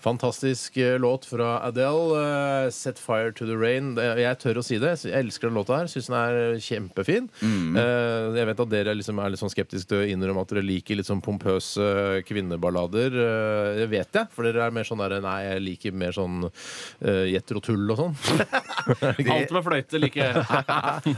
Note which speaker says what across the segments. Speaker 1: Fantastisk eh, låt fra Adele. eh, 'Set Fire to the Rain'. Det- Jeg tør å si det. Jeg elsker den låta her. Syns den er eh, kjempefin. Eh, Jeg vet at dere liksom er litt sånn skeptiske til å innrømme at dere liker litt sånn pompøse kvinneballader. Eh, Det vet jeg, for dere er mer sånn der Nei, jeg liker mer sånn gjetter og tull og sånn.
Speaker 2: Alt med fløyte liker jeg.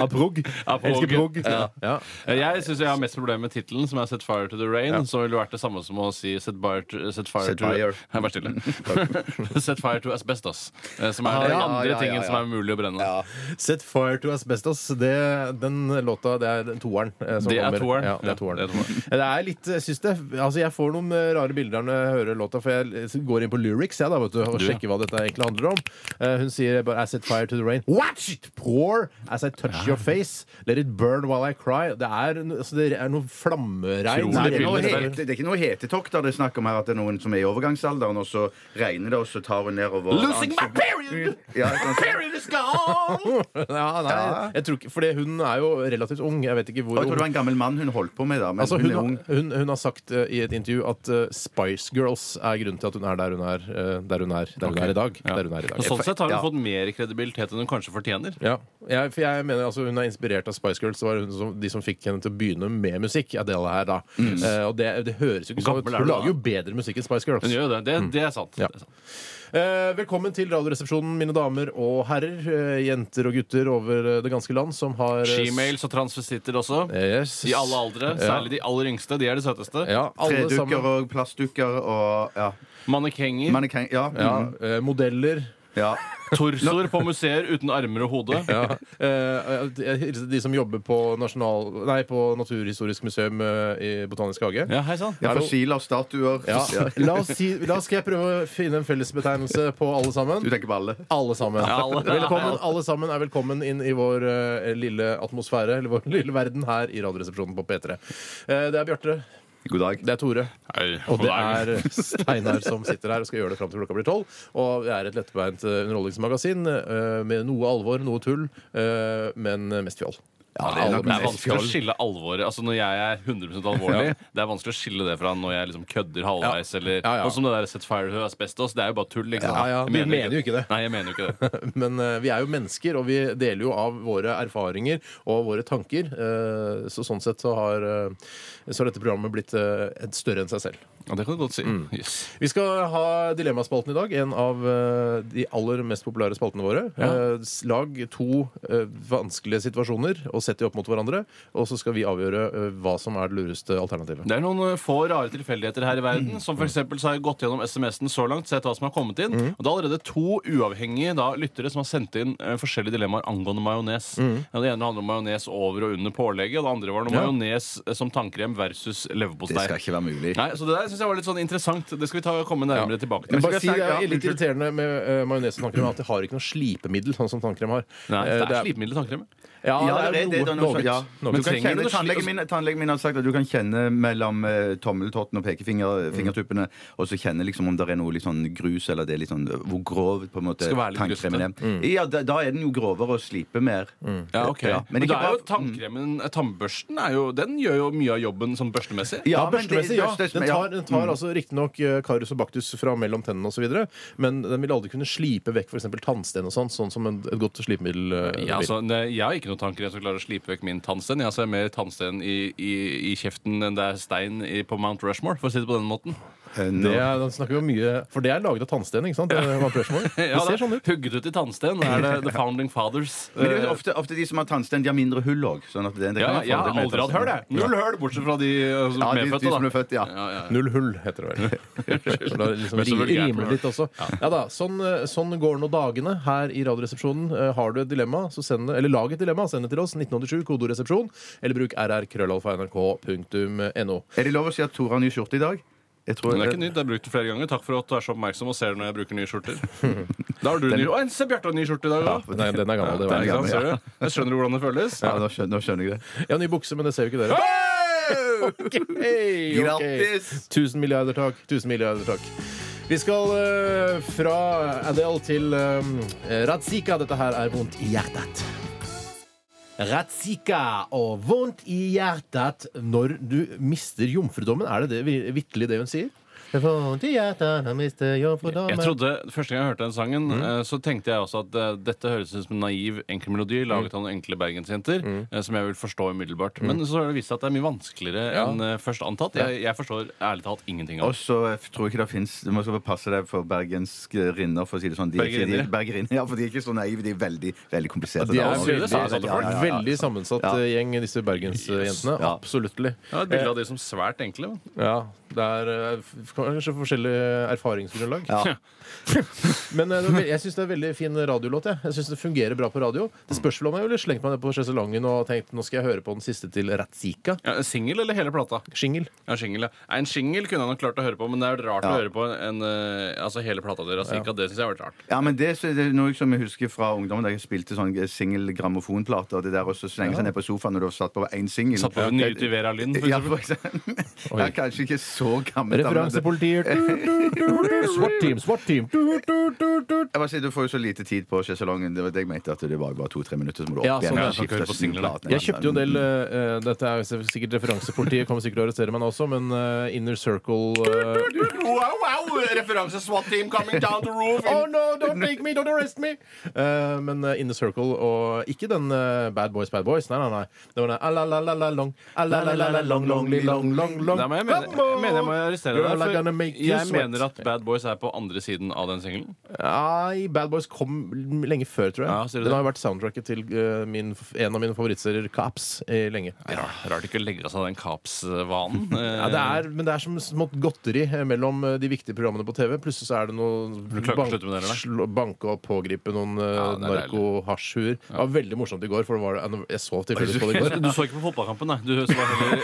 Speaker 1: Aprog.
Speaker 2: Aprog.
Speaker 1: Elsker prog.
Speaker 2: Ja.
Speaker 1: Ja.
Speaker 2: Jeg syns jeg har mest problemer med tittelen, som er 'Set fire to the rain'. Som ville vært det samme som å si 'Set, bar to, set fire
Speaker 3: Set
Speaker 2: to
Speaker 3: fire.
Speaker 2: Nei, Vær stille. 'Set fire to asbestos'. eh, Som er
Speaker 3: Ah,
Speaker 2: den
Speaker 3: ja,
Speaker 2: andre
Speaker 3: ja, ja,
Speaker 2: tingen
Speaker 3: ja.
Speaker 2: som er mulig å brenne.
Speaker 3: Ja.
Speaker 1: Set Fire to Asbestos. Det, den låta, det er den toeren. eh, som
Speaker 2: Det er
Speaker 1: kommer.
Speaker 2: toeren.
Speaker 1: Ja, det
Speaker 2: Ja,
Speaker 1: er toeren.
Speaker 2: det er toeren.
Speaker 1: Ja, det er litt, jeg syns det Altså, jeg får noen eh, rare bilder når jeg hører låta, for jeg går inn på lyrics jeg da, vet du, og
Speaker 2: Du, ja.
Speaker 1: sjekker hva dette egentlig handler om. Eh, Hun sier bare I set fire to the rain. Watch it pour as I touch your face. Let it burn while I cry. Det er, no- altså, det er noe flammeregn.
Speaker 3: Nei,
Speaker 2: Utrolig
Speaker 3: det, er
Speaker 2: billig,
Speaker 3: noe
Speaker 2: dette her.
Speaker 3: hete, det er ikke noe hetetokt der det er snakk om her at det er noen som er i overgangsalderen, og så regner det, og så tar hun nedover
Speaker 2: Losing my period!
Speaker 3: Ja, sånn-
Speaker 2: Period is gone!
Speaker 1: ja, nei, jeg tror ikke, fordi hun er jo relativt ung. Jeg vet ikke hvor
Speaker 3: Jeg
Speaker 1: ung.
Speaker 3: tror det var en gammel mann hun holdt på med, da. Men
Speaker 1: Altså,
Speaker 3: hun,
Speaker 1: hun,
Speaker 3: er ung.
Speaker 1: har- hun, hun har sagt eh, i et intervju at eh, Spice Girls er grunnen til at hun er der hun er, eh, der hun er, der hun
Speaker 2: Ok.
Speaker 1: er i dag.
Speaker 2: Ja.
Speaker 1: Der hun er i
Speaker 2: Og
Speaker 1: dag.
Speaker 2: sånn sett har hun
Speaker 3: Ja.
Speaker 2: fått mer kredibilitet enn hun kanskje fortjener.
Speaker 1: Ja, jeg, for jeg mener altså Hun er inspirert av Spice Girls. Det var hun som, de som fikk henne til å begynne med musikk. Adele her da Eh, Og det, det høres jo ikke
Speaker 2: Mm.
Speaker 1: sånn
Speaker 2: Hvor
Speaker 1: ut.
Speaker 2: gammel er
Speaker 1: Hun
Speaker 2: du
Speaker 1: lager jo
Speaker 2: da?
Speaker 1: bedre musikk enn Spice Girls.
Speaker 2: Hun gjør jo det. Det, det er sant.
Speaker 1: Mm. Ja.
Speaker 2: Det er sant.
Speaker 1: Eh, velkommen til Radioresepsjonen, mine damer og herrer. eh, jenter og gutter over eh, det ganske land som har eh,
Speaker 2: Shemales og transvestitter også.
Speaker 1: Yes.
Speaker 2: I alle aldre. Særlig de aller yngste. De er de søteste.
Speaker 1: Ja, alle
Speaker 3: Tredukker
Speaker 1: sammen.
Speaker 3: og plastdukker og ja.
Speaker 2: Mannekenger.
Speaker 3: Mannekeng... Ja.
Speaker 1: Ja,
Speaker 3: mhm,
Speaker 1: eh, modeller.
Speaker 3: ja.
Speaker 2: Torsoer på museer uten armer og hode.
Speaker 1: Ja. Eh, jeg hilser til de som jobber på, nasjonal, nei, på Naturhistorisk museum eh, i Botanisk hage.
Speaker 2: Ja, hei sann.
Speaker 3: ja
Speaker 1: Hallo.
Speaker 3: fossiler, statuer
Speaker 1: Ja.
Speaker 3: Ja.
Speaker 1: La, oss si, la oss skal jeg prøve å finne en fellesbetegnelse på alle sammen.
Speaker 3: Du tenker på alle?
Speaker 1: Alle sammen.
Speaker 2: Ja, alle.
Speaker 1: Velkommen, alle sammen er velkommen inn i vår eh, lille atmosfære, eller vår lille verden her i Radioresepsjonen på P3. Eh, det er Bjarte.
Speaker 3: God dag.
Speaker 1: Det er Tore.
Speaker 2: Hei,
Speaker 1: Og det
Speaker 2: god dag.
Speaker 1: er Steinar som sitter her og skal gjøre det fram til klokka blir tolv. Og det er et lettbeint eh, underholdningsmagasin eh, med noe alvor, noe tull, eh, men mest fjoll.
Speaker 3: Ja,
Speaker 2: Det er
Speaker 3: mest
Speaker 2: vanskelig å
Speaker 3: fjoll.
Speaker 2: skille alvoret Altså Når jeg er 100 alvorlig, det er vanskelig å skille det fra når jeg liksom kødder halvveis. Eller
Speaker 1: Ja, ja.
Speaker 2: Og som det der Set Fire to Asbestos. Det er jo bare tull. Ikke sant?
Speaker 1: Ja, ja,
Speaker 2: Jeg
Speaker 1: du mener jo ikke det.
Speaker 2: Nei, jeg mener jo ikke det.
Speaker 1: Men eh, vi er jo mennesker, og vi deler jo av våre erfaringer og våre tanker. eh, så sånn sett så har eh, så har dette programmet blitt eh, et større enn seg selv.
Speaker 2: Ja, det kan du godt si.
Speaker 1: Mm.
Speaker 2: Yes.
Speaker 1: Vi skal ha Dilemmaspalten i dag. En av eh, de aller mest populære spaltene våre.
Speaker 2: Ja.
Speaker 1: Eh, s- lag to eh, vanskelige situasjoner og sett de opp mot hverandre. Og så skal vi avgjøre eh, hva som er det lureste alternativet.
Speaker 2: Det er noen eh, få rare tilfeldigheter her i verden. Som for eksempel så har jeg gått gjennom SMS-en så langt, sett hva som har kommet inn. Og det er allerede to uavhengige da, lyttere som har sendt inn eh, forskjellige dilemmaer angående majones. Ja, Det ene handler om majones over og under pålegget, og det andre var noe
Speaker 1: Ja.
Speaker 2: majones eh, som tannkrem versus leverpostei.
Speaker 3: Det skal ikke være mulig.
Speaker 2: Nei, så Det der synes jeg var litt sånn interessant. Det skal vi ta, komme nærmere tilbake til.
Speaker 1: Men
Speaker 3: skal
Speaker 1: bare
Speaker 3: jeg
Speaker 1: si, det
Speaker 3: si- ja,
Speaker 1: er litt
Speaker 3: unnskyld.
Speaker 1: irriterende med uh, majones og tannkrem at de har ikke noe slipemiddel, sånn som tannkrem har.
Speaker 2: Nei,
Speaker 1: Eh,
Speaker 2: det er
Speaker 1: det er-
Speaker 2: slipemiddel tannkrem.
Speaker 1: Ja,
Speaker 3: Ja,
Speaker 1: det er noe, noe,
Speaker 3: sånt, ja.
Speaker 1: noe.
Speaker 2: Men
Speaker 3: Du kan
Speaker 2: trenger
Speaker 3: kjenne,
Speaker 2: du det slik-
Speaker 3: tannlegen, min, tannlegen min har sagt at du kan kjenne mellom eh, tommeltotten og pekefingertuppene, og så kjenne liksom om det er noe litt sånn grus, eller det er litt sånn hvor grov på en måte
Speaker 2: Skal være litt
Speaker 3: tannkremen er. Ja, da, da er den jo grovere å slipe mer.
Speaker 2: Ja, ok.
Speaker 3: Ja,
Speaker 2: Men, da
Speaker 3: men ikke
Speaker 2: er jo
Speaker 3: bare-
Speaker 2: tannkremen eh, Tannbørsten er jo, den gjør jo mye av jobben sånn børstemessig.
Speaker 1: Ja,
Speaker 3: Ja, men det-
Speaker 1: børstemessig, ja.
Speaker 3: børstes-
Speaker 1: Den
Speaker 3: ja.
Speaker 1: tar, den tar altså riktignok karus og baktus fra mellom tennene osv., men den vil aldri kunne slipe vekk f.eks. tannsten og sånn, sånn som en, et godt slipemiddel eh, vil.
Speaker 2: Ja, altså, ne, jeg har ikke noen tanker som klarer å slipe vekk min tannsten. Jeg har så mer tannsten i, i, i kjeften enn det er stein i, på Mount Rushmore, for å si det på den måten.
Speaker 3: Eh,
Speaker 1: Det
Speaker 3: nå-
Speaker 1: er, den snakker vi om mye For det er laget av tannsten, ikke sant? Det, var Rushmore.
Speaker 2: Ja,
Speaker 1: det ser sånn ut.
Speaker 2: Hugget ut i tannsten. Det er det The Founding Fathers.
Speaker 3: Men det er
Speaker 2: Eh,
Speaker 3: jo ofte, ofte de som har tannsten, de har mindre hull òg. Sånn at det, det
Speaker 2: ja,
Speaker 3: kan være
Speaker 2: jeg har
Speaker 3: fordel med
Speaker 2: aldri hatt høl, jeg.
Speaker 3: tannsten.
Speaker 2: Null høl, bortsett fra de eh, som
Speaker 3: Ja, de, de
Speaker 2: medfødte.
Speaker 3: som
Speaker 2: da.
Speaker 3: ble født, ja.
Speaker 2: Ja, ja, ja.
Speaker 1: Null hull, heter det vel. Så da liksom
Speaker 2: Men så
Speaker 1: ri-
Speaker 2: vulgært,
Speaker 1: rimer det litt også. Ja da, Sånn, eh, sånn går nå dagene her i Radioresepsjonen. Eh, Har du et dilemma, så send det, eller lag et dilemma, send det til oss. 1987, kodoresepsjon, eller bruk rrkrøllalfa.nrk.no.
Speaker 3: Er det lov å si at Tore har ny skjorte i dag? Jeg tror-
Speaker 2: Men det er ikke nytt. Det er brukt flere ganger. Takk for at du er så oppmerksom og ser når jeg bruker nye skjorter. Da har du ny... Å, en Se, Bjarte har ny skjorte i dag òg!
Speaker 1: Nei, den er gammel. det
Speaker 2: Ja,
Speaker 1: var jeg.
Speaker 3: den er
Speaker 2: ikke sant?
Speaker 3: gammel,
Speaker 2: Ser du? Jeg skjønner hvordan det føles.
Speaker 3: Ja, nå skjønner, nå skjønner jeg det.
Speaker 1: Jeg har ny bukse, men det ser jo ikke dere. Hey, ok.
Speaker 3: Grattis!
Speaker 1: Tusen milliarder takk. Tusen milliarder takk. Vi skal eh, fra Adele til eh, Ratzika. Dette her er vondt i hjertet. Ratzika og vondt i hjertet når du mister jomfrudommen. Er det det vi- vitterlig det hun sier?
Speaker 2: Jeg trodde, Første gang jeg hørte den sangen, eh, så tenkte jeg også at eh, dette høres ut som en naiv, enkel melodi laget av noen enkle bergensjenter, eh, som jeg vil forstå umiddelbart. Men så har det vist seg at det er mye vanskeligere
Speaker 1: Ja.
Speaker 2: enn eh, først antatt. Jeg, jeg forstår ærlig talt ingenting av
Speaker 3: Og
Speaker 2: det.
Speaker 3: så eh, tror jeg ikke det fins Du må skal passe deg for bergenske rinner, for å si det sånn. De er ikke-
Speaker 2: Bergerinnere?
Speaker 3: de- Bergerinnere, ja, for de er ikke så naive. De er veldig, veldig kompliserte.
Speaker 1: De er
Speaker 3: Da.
Speaker 1: veldig,
Speaker 2: Ja, ja, ja,
Speaker 3: ja.
Speaker 1: veldig sammensatt
Speaker 3: sånn Ja.
Speaker 1: eh, gjeng, disse bergensjentene.
Speaker 3: Ja.
Speaker 1: Absolutt.
Speaker 2: Jeg har et bilde av de som svært enkle. men-
Speaker 1: Ja, det er eh, f- kanskje forskjellig erfaringsgrunnlag.
Speaker 3: Ja.
Speaker 1: Men eh, det er ve- jeg syns det er en veldig fin radiolåt. Jeg, jeg synes Det fungerer bra på radio. Det spørs vel om jeg ville slengt meg ned på sjeselongen og tenkt nå skal jeg høre på den siste til Ratzika.
Speaker 2: Ja, Singel eller hele plata?
Speaker 1: Shingel.
Speaker 2: Ja, singel, ja. Nei, En singel kunne han nok klart å høre på, men det er jo rart å
Speaker 3: Ja.
Speaker 2: høre på en, eh, altså hele plata deres. Ikke at det syns jeg har vært rart.
Speaker 3: Ja, men det, så- det er noe som jeg husker fra ungdommen da jeg spilte sånn singel-grammofonplater. og Det der også slenge seg ned på sofaen når du har satt på én singel.
Speaker 2: Satt på den nye til Vera Lynn, for
Speaker 3: Ja,
Speaker 2: eksempel.
Speaker 3: for eksempel. Jeg er kanskje ikke så gammel. da, men-
Speaker 1: Referansepolitiet. Svart team, svart team.
Speaker 3: Jeg bare sier, Du får jo så lite tid på sjeselongen. Det var det jeg mente, at det var bare to-tre minutter, så må du
Speaker 1: Ja,
Speaker 3: opp
Speaker 1: sånn er
Speaker 3: igjen. og
Speaker 1: det.
Speaker 3: skifte
Speaker 2: Hør på singlene.
Speaker 3: platene.
Speaker 1: Jeg kjøpte jo en del eh, Dette er jo sikkert referansepolitiet, kommer sikkert til å arrestere meg nå også, men eh, Inner Circle eh,
Speaker 2: Wow, wow! Referanse SWAT team coming down the roof.
Speaker 1: Oh no, don't take me, don't arrest me! Eh, men eh, Inner Circle og ikke den eh, Bad Boys, Bad Boys. Nei, nei, nei. Det var den a-la-la-la-la-long, a-la-la-la-la-long-long-long-long-long.
Speaker 2: Nei, men jeg mener, jeg mener jeg må arrestere
Speaker 1: Girl, I
Speaker 2: deg.
Speaker 1: gonna make
Speaker 2: For
Speaker 1: you
Speaker 2: jeg
Speaker 1: sweat.
Speaker 2: mener at Bad Boys er på andre siden av den singelen.
Speaker 1: Nei, Bad Boys kom lenge før, tror jeg.
Speaker 2: Ja, sier du
Speaker 1: den
Speaker 2: det?
Speaker 1: har jo vært soundtracket til eh, min, en av mine favorittserier, Cops, i lenge.
Speaker 2: Rart, rart ikke å legge av seg den kapsvanen. eh,
Speaker 1: Ja, det er, men det er som smått godteri eh, mellom eh, de viktige programmene på TV. Plutselig så er det noe
Speaker 2: klarer ikke å slutte med det, eller?
Speaker 1: slå- banke og pågripe noen eh,
Speaker 2: Ja, det er deilig.
Speaker 1: narko-hasjhuer. Det var veldig morsomt i går, for det var det, jeg så tilfeldigvis på det i går.
Speaker 2: Du så ikke på fotballkampen, nei. Du, så bare heller-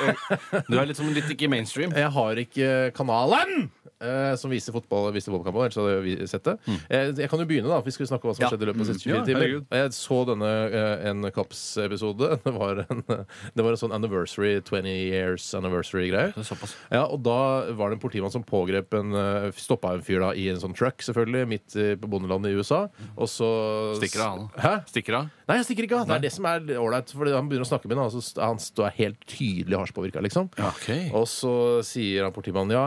Speaker 2: du er litt, som, litt ikke mainstream.
Speaker 1: Jeg har ikke kanalen eh, som viser fotball viste fotballkampen. Ellers hadde vi sett det. Eh, jeg kan jo begynne, da. for Vi skulle snakke om hva som
Speaker 3: Ja.
Speaker 1: skjedde i løpet av de siste 24
Speaker 2: Mm. Ja,
Speaker 1: timer.
Speaker 2: herregud.
Speaker 1: Og Jeg så denne eh, en Kaps-episode. Det, var en, det var en sånn anniversary, 20 years anniversary-greie.
Speaker 2: Det er såpass.
Speaker 1: Ja, og da var det en politimann som pågrep en eh, Stoppa en fyr da i en sånn truck, selvfølgelig, midt eh, på bondelandet i USA. Og så
Speaker 2: Stikker av, han.
Speaker 1: Hæ?
Speaker 2: Stikker av.
Speaker 1: Nei, jeg stikker ikke av. Det er det som er ålreit. fordi Han begynner å snakke med henne, og så st- han står helt tydelig hasjpåvirka, liksom.
Speaker 2: Ok.
Speaker 1: Og så sier han politimannen ja,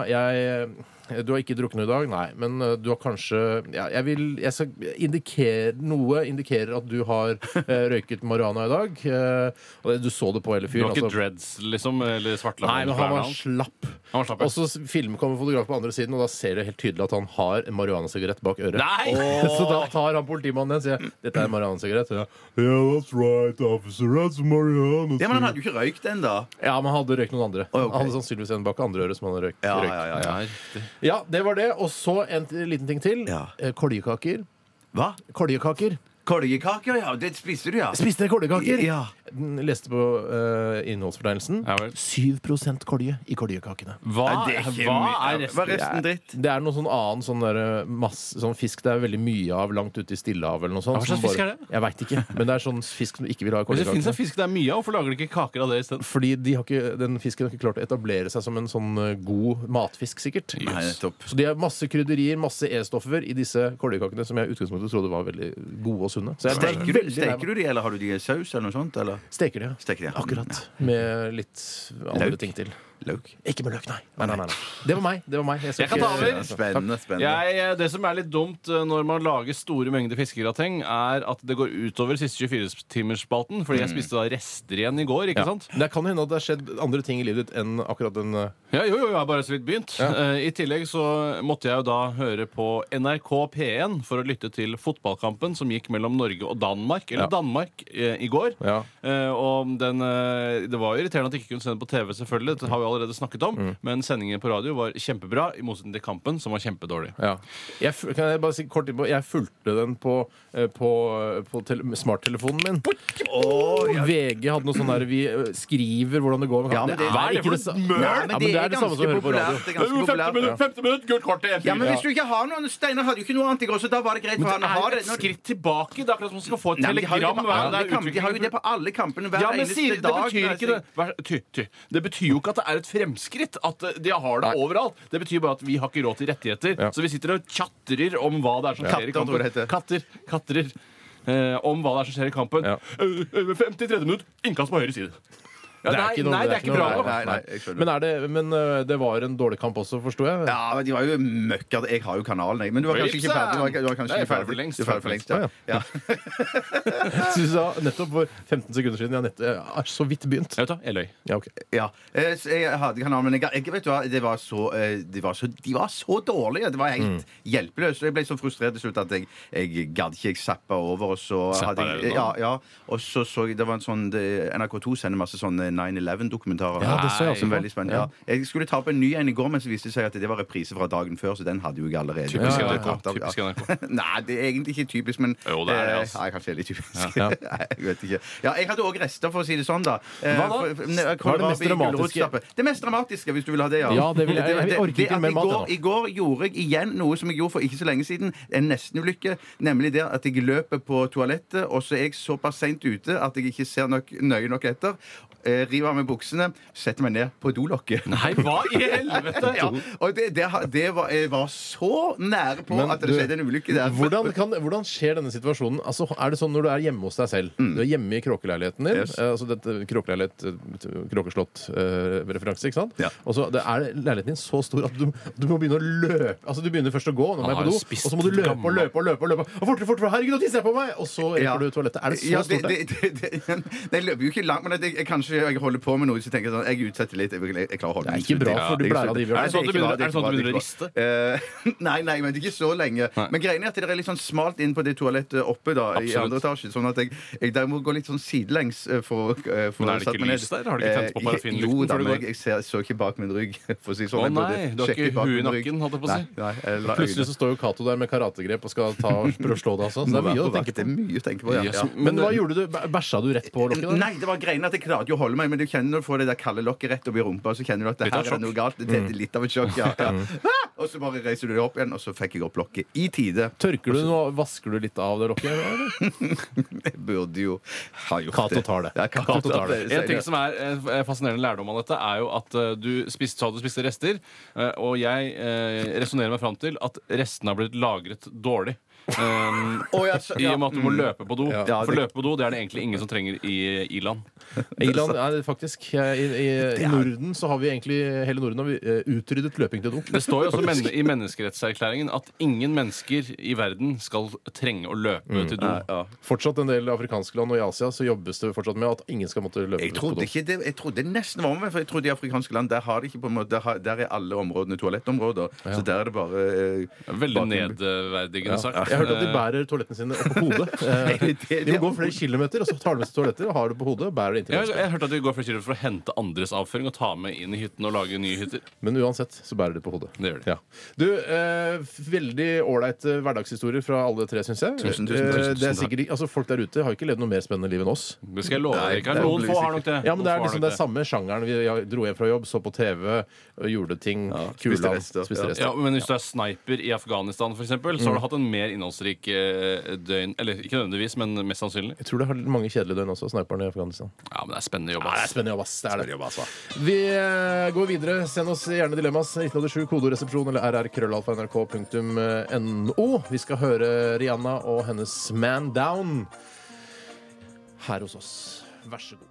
Speaker 1: jeg Du har ikke druknet i dag? Nei, men eh, du har kanskje ja, Jeg vil jeg skal indikere Noe indikerer at du har eh, røyket marihuana i dag. eh, og det- du så det på hele
Speaker 2: Du
Speaker 1: fyren.
Speaker 2: har ikke
Speaker 1: altså.
Speaker 2: dreads, liksom? Eller svartlagt
Speaker 1: Nei, men han var slapp.
Speaker 2: Han var slapp, ja.
Speaker 1: Og så s- film kommer fotograf på andre siden, og da ser du helt tydelig at han har en marihuanasigarett bak øret.
Speaker 2: Nei!
Speaker 1: Åh. Så da tar han politimannen den og sier 'dette er en marihuanasigarett'. Ja. yeah, that's right, officer. That's marihuana.
Speaker 3: Ja, men han hadde jo ikke røykt den, da.
Speaker 1: Ja, men han hadde røykt noen andre.
Speaker 3: Å, ok.
Speaker 1: Han hadde sannsynligvis en bak andre øret som han hadde røykt.
Speaker 3: Ja,
Speaker 1: røykt.
Speaker 3: ja, ja, ja.
Speaker 2: Ja, riktig.
Speaker 1: Ja, det var det. Og så en t- liten ting til.
Speaker 3: Ja.
Speaker 1: Eh, Koljekaker.
Speaker 3: Hva?
Speaker 1: Koljekaker.
Speaker 3: Kolgekaker, ja. Det spiste du, ja.
Speaker 1: Spiste dere koljekaker?
Speaker 3: Ja.
Speaker 1: Den Leste på eh, innholdsfortegnelsen.
Speaker 2: Ja vel.
Speaker 1: 7 kolje i koljekakene.
Speaker 2: Hva,
Speaker 3: Nei, det er ikke
Speaker 2: hva
Speaker 3: mye.
Speaker 2: er
Speaker 3: Hva er
Speaker 2: resten?
Speaker 3: resten dritt?
Speaker 1: Det er noe sånn annen sånn, der, masse, sånn fisk det er veldig mye av langt ute i Stillehavet. eller noe sånt.
Speaker 2: Hva slags
Speaker 1: som bare-
Speaker 2: fisk er det?
Speaker 1: Jeg veit ikke. Men det er sånn fisk som du ikke vil ha i
Speaker 2: Hvis det fins en
Speaker 1: koljakene.
Speaker 2: fisk det er mye av, hvorfor lager de ikke kaker av det isteden?
Speaker 1: Fordi de har ikke, den fisken har ikke klart å etablere seg som en sånn eh, god matfisk, sikkert.
Speaker 3: Nei, nettopp.
Speaker 1: Så de har masse krydderier, masse E-stoffer i disse koljekakene som jeg i utgangspunktet trodde var veldig gode og sunne. Så jeg ble
Speaker 3: Steker du,
Speaker 1: veldig lei meg.
Speaker 3: steker du de, eller har du de i saus eller noe sånt? Eller
Speaker 1: Steker de, ja.
Speaker 3: Steker de, ja.
Speaker 1: Akkurat. Med litt andre
Speaker 3: Løk?
Speaker 1: ting til.
Speaker 3: løk?
Speaker 1: Ikke med løk, nei. Nei, nei, nei, nei. Det var meg. det var meg. skal
Speaker 2: Jeg kan
Speaker 1: ikke-
Speaker 2: ta over.
Speaker 1: Altså,
Speaker 3: Spennende, spennende.
Speaker 2: Jeg, eh, det som er litt dumt eh, når man lager store mengder fiskegrateng, er at det går utover siste 24-timersspalten. Fordi jeg spiste da rester igjen i går. ikke sant?
Speaker 1: Men Det kan hende at det har skjedd andre ting i livet ditt enn akkurat den eh,
Speaker 2: Ja, jo, jo, jeg har bare så vidt begynt. Eh, I tillegg så måtte jeg jo da høre på NRK P1 for å lytte til fotballkampen som gikk mellom Norge og Danmark, eller
Speaker 1: Ja.
Speaker 2: Danmark, eh, i går.
Speaker 1: Ja.
Speaker 2: Eh, og den, eh, det var jo irriterende at de ikke kunne sende på TV, selvfølgelig. Det har vi allerede snakket om. Men sendingen på radio var kjempebra, i motsetning til kampen, som var kjempedårlig.
Speaker 1: Ja. Jeg, fu- kan jeg bare si kort innpå? Jeg fulgte den på, eh, på, på tele smarttelefonen min. VG hadde noe sånn der vi eh, skriver hvordan det går.
Speaker 3: Ja, men det-
Speaker 1: er
Speaker 3: hva er
Speaker 2: det
Speaker 1: ikke
Speaker 2: for
Speaker 1: sa-
Speaker 2: et møl?
Speaker 1: Nei, men det er det samme som å høre på radio.
Speaker 3: Det er ganske populært. Ja.
Speaker 2: minutt, gult kort til en
Speaker 3: Ja, men hvis du ikke har noen Steinar hadde jo ikke noe annet i går, så da var det greit for han
Speaker 2: det
Speaker 3: å ha
Speaker 2: er
Speaker 3: det.
Speaker 2: et skritt tilbake. Det er akkurat som om man skal få et
Speaker 3: Nei, men de har jo
Speaker 2: telegram
Speaker 3: det på
Speaker 2: hver
Speaker 3: alle
Speaker 2: dag.
Speaker 3: kamp- de har jo det på alle kampene hver
Speaker 2: Ja, men
Speaker 3: eneste
Speaker 2: sier, det
Speaker 3: dag. altså.
Speaker 2: betyr ikke det. Vær, ty, ty. Det betyr jo ikke at det er et fremskritt at eh, de har det
Speaker 1: Nei.
Speaker 2: overalt. Det betyr bare at vi har ikke råd til rettigheter,
Speaker 1: Ja.
Speaker 2: så vi sitter og tjatrer om hva det er som skjer i
Speaker 3: Katter, tror jeg
Speaker 2: kampen.
Speaker 3: det heter.
Speaker 2: Katter, katrer. Eh, om hva det er som skjer i kampen.
Speaker 1: Ja.
Speaker 2: Eh, eh, 53. minutt, innkast på høyre side. Ja, nei,
Speaker 1: noe-
Speaker 2: nei, det er ikke bra
Speaker 1: noe-
Speaker 2: nok.
Speaker 3: Nei, nei, jeg skjønner.
Speaker 1: Men, er det, men øh, det var en dårlig kamp også, forsto jeg?
Speaker 3: Ja, men de var jo møkka. Jeg har jo kanalen, jeg. Men du var kanskje ikke ferdig? Du var, du var kanskje
Speaker 2: Nei, jeg er
Speaker 3: ikke
Speaker 2: ferdig for lengst.
Speaker 3: Du er ferdig for lengst, ja.
Speaker 1: Å,
Speaker 3: ja.
Speaker 1: Så du sa nettopp for 15 sekunder siden. Jeg har nett- jeg har så vidt begynt.
Speaker 2: Jeg vet da, jeg løy.
Speaker 1: Ja, ok.
Speaker 3: ja. Eh, så Jeg hadde kanalen, men jeg, jeg vet du hva, det var så, eh, de, var så, de var så dårlige. Det var
Speaker 2: Mm.
Speaker 3: helt hjelpeløst. Og jeg ble så frustrert til slutt at jeg, jeg gadd ikke. Jeg zappa over, og så
Speaker 2: Zappa
Speaker 3: hadde
Speaker 2: det,
Speaker 3: jeg ja, ja, Og så så jeg Det var en sånn det- NRK2 sender masse sånn, eh, sånne 9-11-dokumentarer.
Speaker 1: Ja, det så jeg også
Speaker 3: Som
Speaker 1: på.
Speaker 3: er veldig spennende. Ja. Jeg skulle ta på en ny en i går, men så viste det seg at det var reprise fra dagen før, så den hadde jo jeg allerede.
Speaker 2: Typisk
Speaker 3: Ja, ja,
Speaker 2: NRK,
Speaker 3: ja.
Speaker 2: typisk NRK.
Speaker 3: Nei, det er egentlig ikke typisk, men
Speaker 2: Jo, det er det,
Speaker 3: eh,
Speaker 2: altså.
Speaker 3: Nei, kanskje det er litt typisk.
Speaker 1: Ja.
Speaker 3: nei, jeg vet ikke. Ja, jeg hadde òg rester, for å si det sånn, da. Eh,
Speaker 2: Hva da?
Speaker 3: for- for- ne-
Speaker 1: Hva er det mest
Speaker 3: kålrabi,
Speaker 1: dramatiske?
Speaker 3: gulrotstappe. Det mest dramatiske, hvis du vil ha det, ja.
Speaker 1: Ja, det vil jeg- jeg orker ikke
Speaker 3: at
Speaker 1: mer
Speaker 3: i
Speaker 1: mat
Speaker 3: går-
Speaker 1: ennå.
Speaker 3: I går gjorde jeg igjen noe som jeg gjorde for ikke så lenge siden, en nestenulykke. Nemlig det at jeg løper på toalettet, og så er jeg såpass seint ute at jeg ikke ser nok, nøye nok etter. eh, River av meg buksene, setter meg ned på dolokket.
Speaker 2: Nei, hva i helvete?
Speaker 3: Ja, og det, det, har- det var, jeg var så nære på
Speaker 1: Men
Speaker 3: at det
Speaker 1: du-
Speaker 3: skjedde en ulykke der.
Speaker 1: Hvordan, kan, hvordan skjer denne situasjonen? Altså, er det sånn Når du er hjemme hos deg selv Du er hjemme i kråkeleiligheten din.
Speaker 3: Yes.
Speaker 1: eh, Altså dette kråkeleilighet eh, Kråkeslott-referanse, ikke sant?
Speaker 3: Ja.
Speaker 1: Og så det er leiligheten din så stor at du, du må begynne å løpe. Altså Du begynner først å gå, nå må
Speaker 2: Han
Speaker 1: jeg
Speaker 2: har
Speaker 1: på do,
Speaker 2: jo
Speaker 1: og
Speaker 2: spist
Speaker 1: så må du løpe og
Speaker 2: gammel-
Speaker 1: løpe og løpe. og løpe og Fortere, fortere! Herregud, nå tisser jeg på meg! Og så rekker
Speaker 3: Ja.
Speaker 1: du toalettet. Er det så
Speaker 3: Ja,
Speaker 1: stort?
Speaker 3: det, det, det, det, jeg løper jo ikke langt, men jeg, jeg, kanskje jeg holder på med noe så tenker jeg sånn, jeg utsetter litt. Jeg, jeg, jeg klarer å holde
Speaker 1: Det er
Speaker 3: meg
Speaker 1: ikke bra
Speaker 3: sulten.
Speaker 1: for du
Speaker 3: Jeg-
Speaker 1: blæra di, Bjørn.
Speaker 3: Nei,
Speaker 2: Er det sånn at du
Speaker 3: ikke bra,
Speaker 2: begynner- er det sånn at du
Speaker 3: ikke bra, det er ikke bra. Eh, nei, nei, men det er ikke så lenge.
Speaker 2: Nei.
Speaker 3: Men greien er at det er litt sånn smalt inn på det toalettet oppe da, i
Speaker 2: Absolutt.
Speaker 3: andre etasje, sånn at jeg, jeg der må gå litt sånn sidelengs eh, for å eh, få
Speaker 2: Men er det
Speaker 3: satt
Speaker 2: ikke
Speaker 3: meg ned.
Speaker 2: lys der? Har du ikke tent på
Speaker 3: Eh,
Speaker 2: parafinlykten
Speaker 3: Jo da,
Speaker 2: før du
Speaker 3: men
Speaker 2: går?
Speaker 3: jeg, jeg ser, så ikke bak min rygg, for å si det sånn.
Speaker 2: Å
Speaker 3: Jeg burde
Speaker 2: nei, du har
Speaker 3: sjekke
Speaker 2: ikke
Speaker 3: bak
Speaker 2: huet i
Speaker 3: min rygg.
Speaker 2: nakken, holdt jeg på å si.
Speaker 3: Nei, nei, jeg la
Speaker 1: Plutselig så står jo Cato der med karategrep og skal ta og prøve å slå deg også. Så det er mye å tenke på.
Speaker 3: Det er mye å tenke på, ja.
Speaker 2: Yes,
Speaker 3: ja.
Speaker 1: Men eh, hva gjorde du? Bæ- Bæsja du rett på lokket? da?
Speaker 3: Nei, det var greien at jeg klarte jo å holde meg, men du kjenner når du får det der kalde lokket rett opp i rumpa, så kjenner du at det
Speaker 2: Litt av
Speaker 3: her er
Speaker 2: sjokk.
Speaker 3: noe galt. Det er litt av et sjokk, ja. ja. Ah! Og så bare reiser du deg opp igjen, og så fikk jeg opp lokket i tide.
Speaker 1: Tørker du nå, Vasker du litt av det lokket? eller?
Speaker 3: Jeg burde jo ha gjort
Speaker 1: Cato
Speaker 3: det.
Speaker 1: tar det.
Speaker 3: Ja, Cato
Speaker 1: Cato tar
Speaker 3: tar det.
Speaker 2: En ting som er eh, fascinerende lærdom av dette, er jo at eh, du spiste, sa du spiste rester, eh, og jeg eh, resonnerer meg fram til at restene har blitt lagret dårlig. Um,
Speaker 3: Å, ja, så-
Speaker 2: I og med at du må
Speaker 3: mm.
Speaker 2: løpe på do.
Speaker 3: Ja,
Speaker 2: For
Speaker 3: det-
Speaker 2: løpe på do det er det egentlig ingen som trenger i i-land.
Speaker 1: Irland er det faktisk eh, I, i, i Norden så har vi egentlig hele Norden har vi eh, utryddet løping til do.
Speaker 2: Det står jo også men i menneskerettserklæringen at ingen mennesker i verden skal trenge å løpe til do.
Speaker 3: Mm. ja.
Speaker 1: Fortsatt en del afrikanske land og i Asia så jobbes det fortsatt med at ingen skal måtte løpe
Speaker 3: Jeg trodde ikke det, jeg trodde det nesten var omvendt, for jeg trodde i afrikanske land der, har de ikke på en måte, der, har, der er alle områdene toalettområder. Så der er det bare eh,
Speaker 2: Veldig
Speaker 3: bak-
Speaker 2: nedverdigende
Speaker 1: Ja.
Speaker 2: sagt.
Speaker 1: Jeg hørte at de bærer toalettene sine opp på hodet. Eh,
Speaker 3: det-
Speaker 1: De må gå flere kilometer, og så tar de med seg toaletter og har det på hodet. og bærer det inntil
Speaker 2: Jeg,
Speaker 1: ganske.
Speaker 2: jeg hørte at de går flere kilometer for å hente andres avføring og ta med inn i hytten og lage nye hytter.
Speaker 1: Men uansett så bærer de på hodet.
Speaker 2: Det gjør de.
Speaker 1: Ja. Du, eh, veldig ålreite hverdagshistorier fra alle tre, syns jeg.
Speaker 3: Tusen, tusen, tusen,
Speaker 1: Eh, det er
Speaker 2: tusen takk.
Speaker 1: sikkert, altså, folk der ute har ikke levd noe mer spennende liv enn oss.
Speaker 2: Det skal jeg love
Speaker 3: Nei,
Speaker 2: deg. Rikard.
Speaker 3: det er
Speaker 2: Noen få har nok det.
Speaker 1: Ja, men det er
Speaker 2: Noen få
Speaker 1: liksom
Speaker 2: har
Speaker 1: den
Speaker 2: nok
Speaker 1: samme sjangeren. Vi jeg dro hjem fra jobb, så på TV, og gjorde ting.
Speaker 3: Ja,
Speaker 1: kula,
Speaker 3: spiste rester.
Speaker 1: spiste
Speaker 3: Ja.
Speaker 1: rester.
Speaker 2: Ja, Mm. men hvis du er sniper i Afghanistan, for eksempel, så har du hatt en mer innholdsrik eh, døgn Eller ikke nødvendigvis, men mest sannsynlig.
Speaker 1: Jeg tror det har mange kjedelige døgn også, sniperne i Afghanistan.
Speaker 2: Ja, men det er altså. spennende jobb.
Speaker 1: Ja, det er
Speaker 2: ass.
Speaker 1: spennende jobb, ass. Det er det. Vi eh, går videre. Send oss gjerne dilemmas. 1987, kodoresepsjon eller rrkrøllalfa.nrk.no. Vi skal høre Rihanna og hennes Man Down her hos oss. Vær så god.